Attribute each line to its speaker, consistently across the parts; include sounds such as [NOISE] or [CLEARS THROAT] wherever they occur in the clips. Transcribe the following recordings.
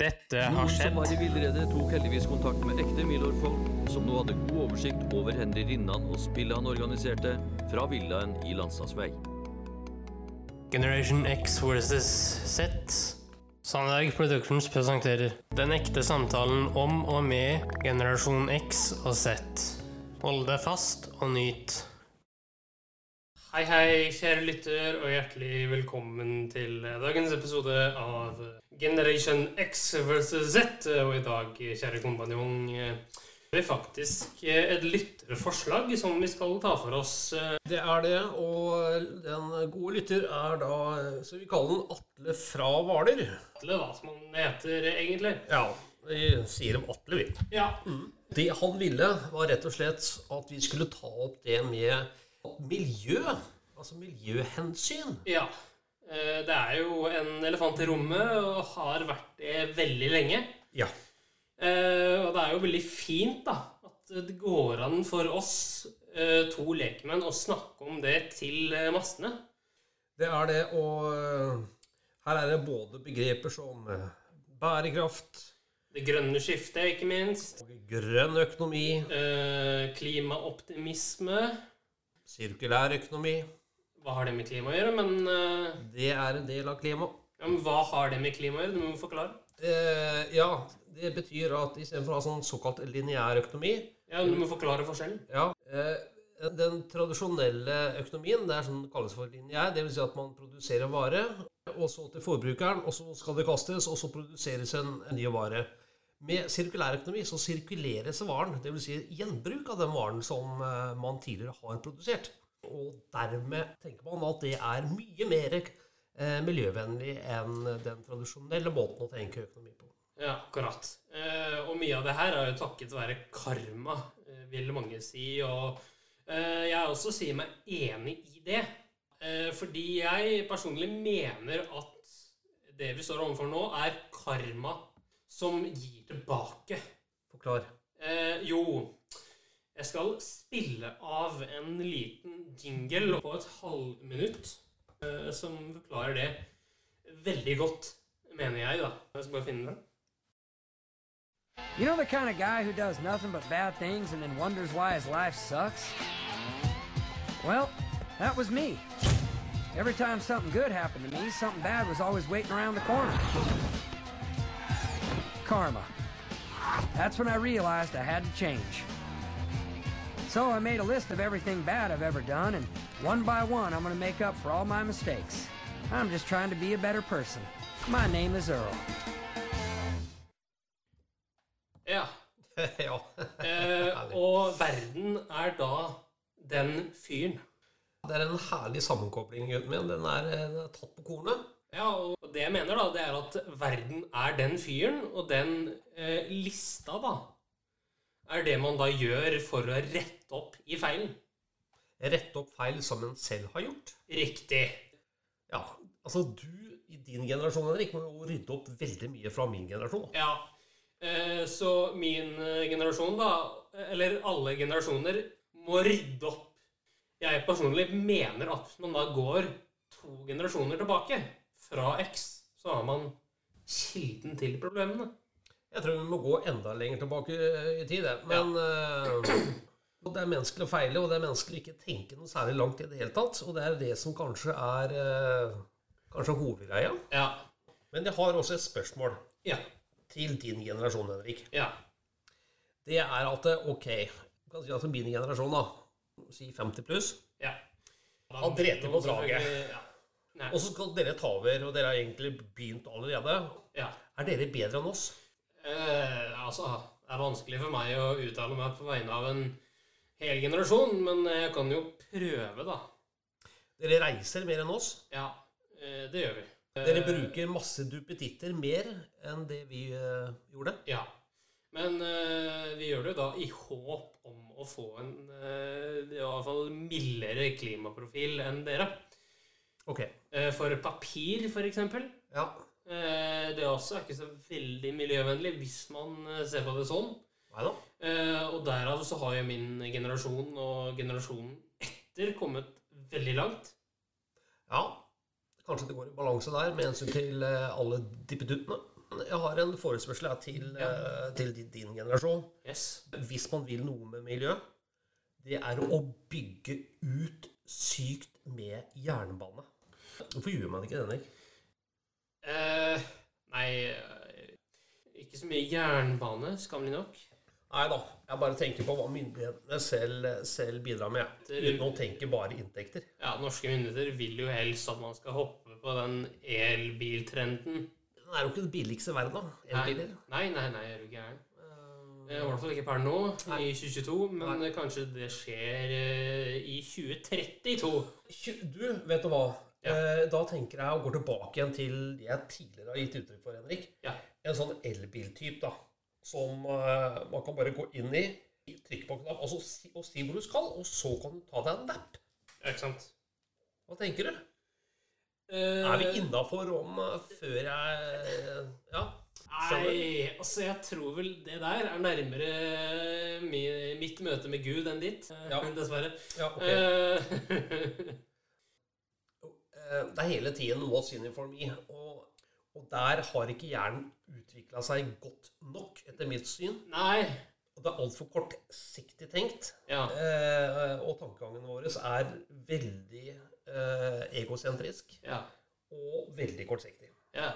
Speaker 1: Dette har
Speaker 2: som
Speaker 1: skjedd.
Speaker 2: var i villrede, tok heldigvis kontakt med ekte Milorg-folk, som nå hadde god oversikt over Henry Rinnan og spillet han organiserte fra villaen i Landstadsvei.
Speaker 1: Generation X versus Z. Sandberg Productions presenterer Den ekte samtalen om og med generasjon X og Z. Hold deg fast og nyt. Hei, hei, kjære lytter, og hjertelig velkommen til dagens episode av Generation X versus Z. Og i dag, kjære kompanjong, har vi faktisk et lytterforslag som vi skal ta for oss eh,
Speaker 3: Det er det, og den gode lytter er da Så vi kaller den Atle fra Hvaler.
Speaker 1: Atle, hva som han heter egentlig.
Speaker 3: Ja, vi sier dem Atle, vi.
Speaker 1: Ja.
Speaker 3: Det han ville, var rett og slett at vi skulle ta opp det med miljø. Altså miljøhensyn.
Speaker 1: ja. Eh, Det er jo en elefant i rommet, og har vært det veldig lenge.
Speaker 3: Ja.
Speaker 1: Eh, Og det er jo veldig fint da, at det går an for oss eh, to lekemenn å snakke om det til eh, massene.
Speaker 3: Det er det, og eh, her er det både begreper som eh, bærekraft,
Speaker 1: Det grønne skiftet, ikke minst.
Speaker 3: og grønn økonomi,
Speaker 1: Eh, Klimaoptimisme.
Speaker 3: sirkulær økonomi.
Speaker 1: Hva har det med klima å gjøre? Men, eh,
Speaker 3: Det er en del av klimaet.
Speaker 1: ja, men hva har det med klima å gjøre? Du må forklare.
Speaker 3: Eh, ja, det betyr at istedenfor å ha sånn såkalt lineær økonomi
Speaker 1: Ja, du må forklare forskjellen.
Speaker 3: ja, eh, Den tradisjonelle økonomien det er sånn det kalles for lineær. Dvs. Si at man produserer en vare, og så til forbrukeren, og så skal det kastes, og så produseres en, en ny vare. Med sirkulær økonomi så sirkuleres varen, dvs. Si gjenbruk av den varen som eh, man tidligere har produsert. Og dermed tenker man at det er mye mer eh, miljøvennlig enn den tradisjonelle måten å tenke økonomi på.
Speaker 1: Ja, akkurat. Eh, og mye av det her er jo takket være karma, eh, vil mange si. Og eh, jeg også sier meg enig i det. Eh, fordi jeg personlig mener at det vi står overfor nå, er karma som gir tilbake.
Speaker 3: Forklar.
Speaker 1: Eh, jo, jeg skal spille av en liten jingle på et halvminutt eh, som forklarer det veldig godt, mener jeg, da. Jeg skal bare finne den.
Speaker 4: You know the kind of guy who does nothing but bad things and then wonders why his life sucks? Well, that was me. Every time something good happened to me, something bad was always waiting around the corner. Karma. That's when I realized I had to change. So I made a list of everything bad I've ever done, and one by one, I'm going to make up for all my mistakes. I'm just trying to be a better person. My name is Earl.
Speaker 1: Ja.
Speaker 3: [LAUGHS] ja.
Speaker 1: Eh,
Speaker 3: Herlig.
Speaker 1: og verden er da den fyren.
Speaker 3: Det er en herlig sammenkobling, gutten min. Den er, eh, den er tatt på kornet.
Speaker 1: Ja, og det jeg mener, da, det er at verden er den fyren, og den eh, lista, da, er det man da gjør for å rette opp i feilen.
Speaker 3: Rette opp feil som en selv har gjort.
Speaker 1: Riktig.
Speaker 3: Ja, altså du i din generasjon, Henrik, må jo rydde opp veldig mye fra min generasjon.
Speaker 1: Ja. Eh, så min eh, generasjon, da, eller alle generasjoner, må rydde opp. Jeg personlig mener at hvis man da går to generasjoner tilbake fra X, så har man kilden til problemene.
Speaker 3: Jeg tror vi må gå enda lenger tilbake eh, i tid, jeg. Men eh, [CLEARS THROAT] og det er menneskelig å feile, og det er menneskelig å ikke tenke noe særlig langt i det hele tatt. Og det er det som kanskje er eh, kanskje hovedgreia.
Speaker 1: Ja.
Speaker 3: Men jeg har også et spørsmål
Speaker 1: Ja.
Speaker 3: til din generasjon, Henrik.
Speaker 1: Ja.
Speaker 3: Det er at eh, ok, du kan si at min generasjon, da, si 50 pluss,
Speaker 1: ja.
Speaker 3: Han drepte på draget.
Speaker 1: Ja. Nei.
Speaker 3: og så skal dere ta over, og dere har egentlig begynt allerede.
Speaker 1: ja.
Speaker 3: Er dere bedre enn oss?
Speaker 1: Eh, altså, det er vanskelig for meg å uttale meg på vegne av en hel generasjon, men jeg kan jo prøve, da.
Speaker 3: Dere reiser mer enn oss.
Speaker 1: Ja, eh, det gjør vi.
Speaker 3: Dere bruker masse duppetitter mer enn det vi eh, gjorde.
Speaker 1: Ja. Men eh, vi gjør det jo da i håp om å få en eh, i hvert fall mildere klimaprofil enn dere.
Speaker 3: Ok.
Speaker 1: Eh, for papir, for eksempel.
Speaker 3: Ja.
Speaker 1: Eh, det også er ikke så veldig miljøvennlig hvis man eh, ser på det sånn.
Speaker 3: Nei da.
Speaker 1: Eh, og derav så har jo min generasjon og generasjonen etter kommet veldig langt.
Speaker 3: Ja. Kanskje det går i balanse der med hensyn til eh, alle dippeduttene. Jeg har en forespørsel her til, eh, til din- din generasjon.
Speaker 5: Yes.
Speaker 3: Hvis man vil noe med miljø, det er å bygge ut sykt med jernbane. Hvorfor gjør man ikke det, Henrik?
Speaker 1: Eh, nei eh, Ikke så mye jernbane, skammelig nok.
Speaker 3: Nei da, jeg bare tenker på hva myndighetene selv, selv bidrar med.
Speaker 1: Det-
Speaker 3: Uten å tenke bare inntekter.
Speaker 1: Ja, Norske myndigheter vil jo helst at man skal hoppe på den elbiltrenden.
Speaker 3: Den er jo ikke den billigste i verden, da.
Speaker 1: Nei,
Speaker 3: Elbiler.
Speaker 1: nei, nei, nei, er du gæren. Eh, I hvert fall ikke per nå, i 2022, men
Speaker 3: Nei.
Speaker 1: eh, kanskje det skjer eh, i 2032.
Speaker 3: Tju- Du, vet du hva?
Speaker 1: Ja.
Speaker 3: Eh, Da tenker jeg å gå tilbake igjen til det jeg tidligere har gitt uttrykk for, Henrik.
Speaker 1: Ja.
Speaker 3: En sånn elbiltyp, da. Som eh, man kan bare gå inn i, trykke på en knapp og, så si, og si hvor du skal, og så kan du ta deg en napp.
Speaker 1: Ja, ikke sant?
Speaker 3: Hva tenker du?
Speaker 1: Eh,
Speaker 3: Er vi innafor om eh, før jeg Ja.
Speaker 1: Nei, altså jeg tror vel det der er nærmere eh, mi- mitt møte med Gud enn ditt. eh,
Speaker 3: Ja.
Speaker 1: [LAUGHS] Dessverre.
Speaker 3: ja ok.
Speaker 1: Eh, [LAUGHS]
Speaker 3: Eh, Det er hele tiden what's in it for me. Og, og der har ikke hjernen utvikla seg godt nok, etter mitt syn.
Speaker 1: nei.
Speaker 3: Og det er altfor kortsiktig tenkt.
Speaker 1: Ja.
Speaker 3: Eh, og tankegangen vår er veldig eh, egosentrisk
Speaker 1: ja.
Speaker 3: og veldig kortsiktig.
Speaker 1: Ja.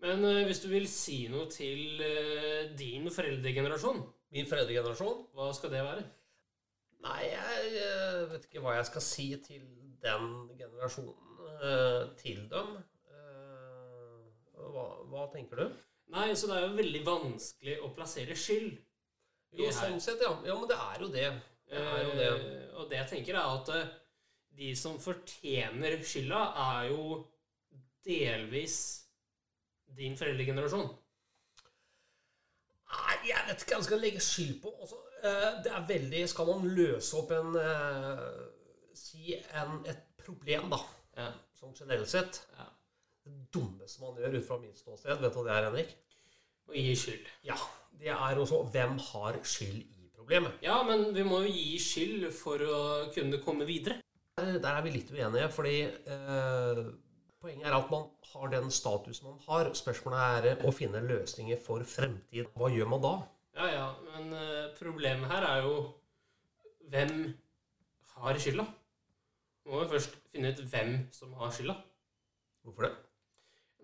Speaker 1: Men eh, hvis du vil si noe til eh, din foreldregenerasjon,
Speaker 3: Min foreldregenerasjon
Speaker 1: hva skal det være?
Speaker 3: Nei, jeg eh, vet ikke hva jeg skal si til den generasjonen. Eh, til dem. Eh, hva, hva tenker du?
Speaker 1: Nei, så det er jo veldig vanskelig å plassere skyld.
Speaker 3: Jo,
Speaker 1: her.
Speaker 3: sånn sett, ja. Ja, men det er jo det. Det er jo det.
Speaker 1: Eh, og det jeg tenker, er at eh, de som fortjener skylda, er jo delvis din foreldregenerasjon.
Speaker 3: Nei, jeg vet ikke hva jeg skal legge skyld på. Altså, eh, det er veldig Skal man løse opp en eh, Si en, et problem, da,
Speaker 1: Ja.
Speaker 3: sånn generelt sett
Speaker 1: Ja.
Speaker 3: Det dummeste man gjør ut fra mitt ståsted, vet du hva det er, Henrik?
Speaker 1: Og gi skyld.
Speaker 3: Ja, Det er også hvem har skyld i problemet.
Speaker 1: Ja, men vi må jo gi skyld for å kunne komme videre.
Speaker 3: Eh, Der, der er vi litt uenige, fordi eh, poenget er at man har den statusen man har. Spørsmålet er eh, å finne løsninger for fremtiden. Hva gjør man da?
Speaker 1: Ja, ja, men eh, problemet her er jo hvem har skylda? Må jo først finne ut hvem som har skylda.
Speaker 3: Hvorfor det?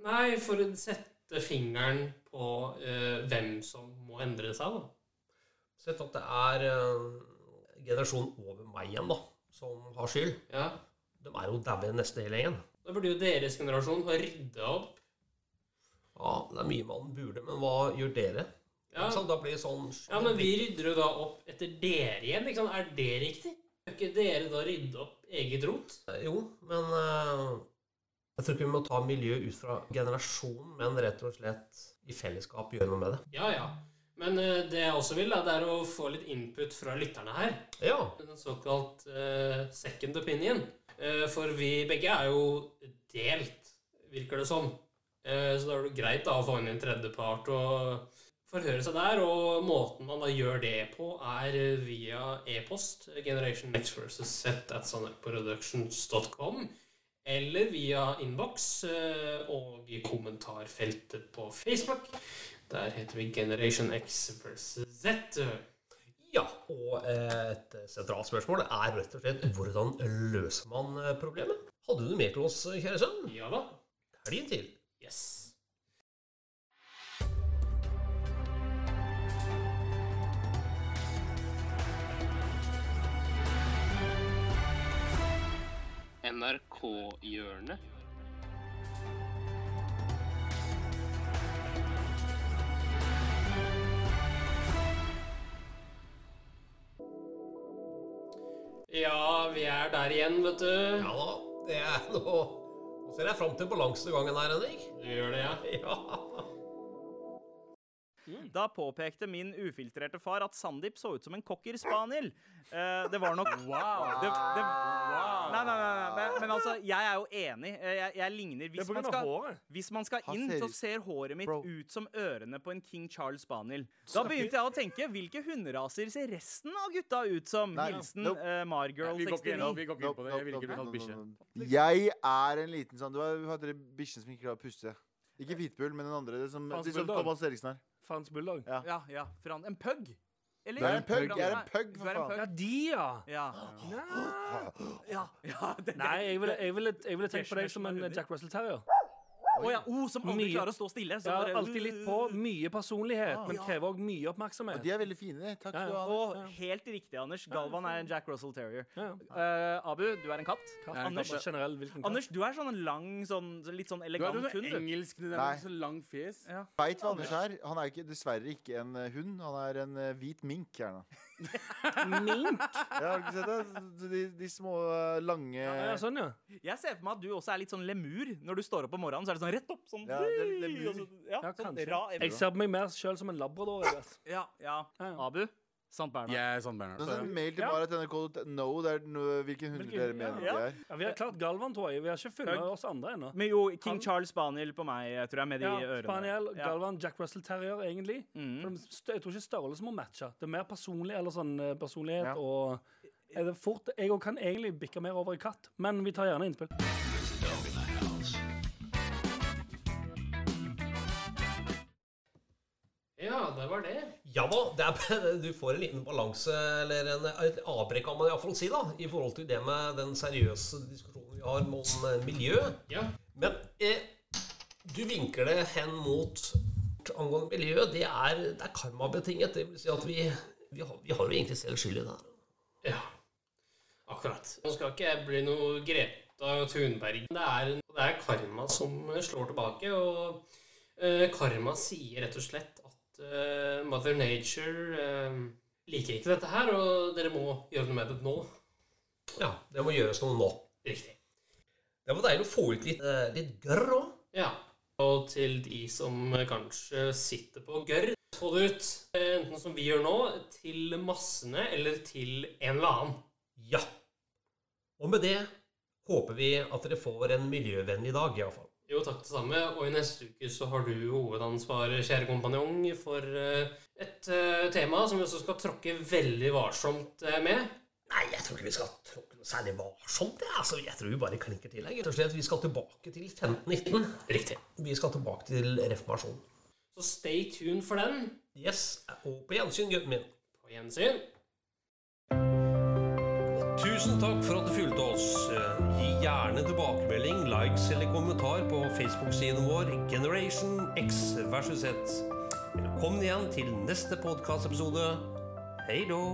Speaker 1: Nei, for å sette fingeren på eh, hvem som må endre seg, da.
Speaker 3: Sett at det er eh, generasjonen over meg igjen da, som har skyld.
Speaker 1: Ja.
Speaker 3: De er jo daue neste hele gjengen.
Speaker 1: Da burde jo deres generasjon ha rydda opp.
Speaker 3: Ja, det er mye man burde, men hva gjør dere?
Speaker 1: Ja.
Speaker 3: Så da blir det sånn
Speaker 1: ja, men vi rydder jo da opp etter dere igjen. ikke sant? Er det riktig? Bør ikke dere da rydde opp eget rot?
Speaker 3: Jo, men eh, jeg tror ikke vi må ta miljø ut fra generasjonen, men rett og slett i fellesskap gjøre noe med det.
Speaker 1: Ja, ja. Men eh, det jeg også vil, da, det er å få litt input fra lytterne her.
Speaker 3: Ja,
Speaker 1: En såkalt eh, second opinion. Eh, for vi begge er jo delt, virker det som. Eh, så da er det greit da å få inn en tredjepart og forhøre seg der. Og måten man da gjør det på, er via e-post Generation Next versus Set at sonicproductions.com. Eller via innboks eh, og i kommentarfeltet på Facebook. Der heter vi Generation X versus Z.
Speaker 3: ja. og eh, et sentralt spørsmål er rett og slett hvordan løser man eh, problemet? Hadde du mer til oss, kjære sønn?
Speaker 1: Ja da.
Speaker 3: Helgen til!
Speaker 1: Yes. NRK-hjørnet. Ja, vi er der igjen, vet du.
Speaker 3: Ja da, det er [LAUGHS] nå Nå ser jeg fram til balansegangen her, Henrik. [LAUGHS]
Speaker 1: Du gjør det, ja.
Speaker 3: Ja.
Speaker 6: Da påpekte min ufiltrerte far at Sandeep så ut som en cocker spaniel. Eh, det var nok
Speaker 7: [LAUGHS]
Speaker 6: Wow! Det, det, Nei, nei, nei, nei, nei. Men altså, jeg er jo enig. Eh, Jeg, jeg ligner hvis man, skal, hvis man skal inn, så ser håret mitt ut som ørene på en King Charles spaniel. Da begynte jeg å tenke hvilke hunderaser ser resten av gutta ut som? Hilsen
Speaker 7: Nope.
Speaker 6: eh, Margirl
Speaker 8: Vi går ikke inn,
Speaker 6: 69.
Speaker 8: vi går ikke inn på det. Jeg vil ikke bli kalt bikkje.
Speaker 7: Jeg er en liten sånn Du har, har dere bikkjen som ikke klarer å puste. Ikke hvitbull, men den andre som,
Speaker 8: Fransk
Speaker 7: de som
Speaker 8: bulldog.
Speaker 7: Thomas Eriksen har.
Speaker 8: Fransk bulldog.
Speaker 7: Ja.
Speaker 6: Ja, ja. Fran en pug? Eller?
Speaker 7: Det er en pug, jeg er en
Speaker 6: Nei,
Speaker 7: pug,
Speaker 6: altså. du
Speaker 7: for
Speaker 6: er en
Speaker 7: faen.
Speaker 8: Ja, de, ja.
Speaker 6: Ja.
Speaker 7: [GASPS]
Speaker 6: [GASPS] ja. ja det,
Speaker 8: Nei, jeg ville, jeg ville, jeg ville tenkt på deg som en eh, Jack Russell Terrier.
Speaker 6: Å ja. Oh, som aldri
Speaker 8: Mye.
Speaker 6: klarer å stå stille. Så
Speaker 8: Ja,
Speaker 6: bare-
Speaker 8: alltid litt på, mye personlighet, men krever òg mye
Speaker 7: Og
Speaker 8: oppmerksomhet.
Speaker 7: de er veldig fine. Takk
Speaker 8: Ja,
Speaker 7: skal
Speaker 8: ja.
Speaker 7: du ha. Anders.
Speaker 6: Og helt riktig, Anders. Galvan er en Jack Russell Terrier.
Speaker 8: Ja.
Speaker 6: Eh, Abu, du er en katt.
Speaker 8: Ja,
Speaker 6: Anders,
Speaker 8: bare generell, hvilken katt. [LAUGHS]
Speaker 6: Anders, du er sånn en lang, sånn, litt sånn
Speaker 9: Du er
Speaker 6: elegant
Speaker 9: jo
Speaker 6: hund.
Speaker 9: sånn
Speaker 6: du.
Speaker 9: engelsk det der
Speaker 7: Nei.
Speaker 9: med så lang fjes.
Speaker 6: Ja.
Speaker 7: Veit hva Anders er. Han er ikke, dessverre ikke en eh, hund. Han er en eh, hvit mink. Gjerne.
Speaker 8: Mink?
Speaker 7: Ja, har du ikke sett det? Så De, de små, eh, lange
Speaker 8: Ja, sånn, ja.
Speaker 6: Jeg ser for meg at du også er litt sånn lemur. Når du står opp om morgenen, så er det sånn rett opp. Sånn,
Speaker 7: Ja, det er lemur.
Speaker 6: og så- ja,
Speaker 8: Ja,
Speaker 6: sånn
Speaker 8: kanskje.
Speaker 6: ra
Speaker 8: Jeg ser på meg mer sjøl som en labrador. Jeg altså. vet.
Speaker 6: ja, ja.
Speaker 8: Ja.
Speaker 6: Abu, St. Bernhard.
Speaker 9: Jeg er sånn Bernhard.
Speaker 7: Det er en mail til maret.nrk.no. Det er no, hvilken hund
Speaker 8: Hvilken-
Speaker 7: dere mener
Speaker 8: ja.
Speaker 7: de er.
Speaker 8: Ja, vi har klart Galvan, tror jeg. Vi har ikke funnet oss andre ennå.
Speaker 6: Men jo, King
Speaker 8: Han-
Speaker 6: Charles Spaniel på meg, eh, tror jeg, med de
Speaker 8: Ja,
Speaker 6: ørene.
Speaker 8: Spaniel,
Speaker 6: Ja. Mm.
Speaker 8: Galvan, Jack Russell Terrier, egentlig. For de stø- Jeg tror ikke størrelsen må matche. Det er mer personlig eller sånn eh, personlighet
Speaker 7: Ja.
Speaker 8: og er det fort, Jeg òg kan egentlig bikke mer over i katt, men vi tar gjerne innspill.
Speaker 1: Ja, det var det.
Speaker 3: Ja da, det er, du får en liten balanse, eller en, et avbrekk kan man iallfall si, da, i forhold til det med den seriøse diskusjonen vi har om eh, miljø.
Speaker 1: Ja.
Speaker 3: Men eh, du vinker det hen mot angående miljø. Det er, det er karmabetinget. Det vil si at vi, vi, har, vi har jo egentlig selv skyld i det. her.
Speaker 1: Ja. Akkurat. Nå skal ikke jeg bli noe Greta Thunberg. Det er, det er karma som eh, slår tilbake, og eh, karma sier rett og slett at eh, Mother Nature eh, liker ikke dette her, og dere må gjøre noe med det nå.
Speaker 3: Ja, det må gjøres noe nå.
Speaker 1: Riktig.
Speaker 3: Det var deilig å få ut litt, eh, litt gørr òg.
Speaker 1: Ja. Og til de som eh, kanskje sitter på gørr, få det ut. eh, Enten som vi gjør nå, til massene, eller til en eller annen.
Speaker 3: Ja. Og med det håper vi at dere får en miljøvennlig dag, iallfall.
Speaker 1: Jo, takk det samme. Og i neste uke så har du hovedansvaret, kjære kompanjong, for eh, et eh, tema som vi også skal tråkke veldig varsomt eh, med.
Speaker 3: Nei, jeg tror ikke vi skal tråkke noe særlig varsomt. jeg. Altså, jeg tror vi bare klinker til. jeg. Rett og slett, Vi skal tilbake til 1519.
Speaker 1: Riktig.
Speaker 3: Vi skal tilbake til reformasjonen.
Speaker 1: Så stay tuned for den.
Speaker 3: Yes, og på gjensyn, gutten min.
Speaker 1: På gjensyn.
Speaker 3: Tusen takk for at du fulgte oss. Eh, Gi gjerne tilbakemelding, likes eller kommentar på Facebook-siden vår Generation X versus Z. Velkommen igjen til neste podkastepisode. Hei då.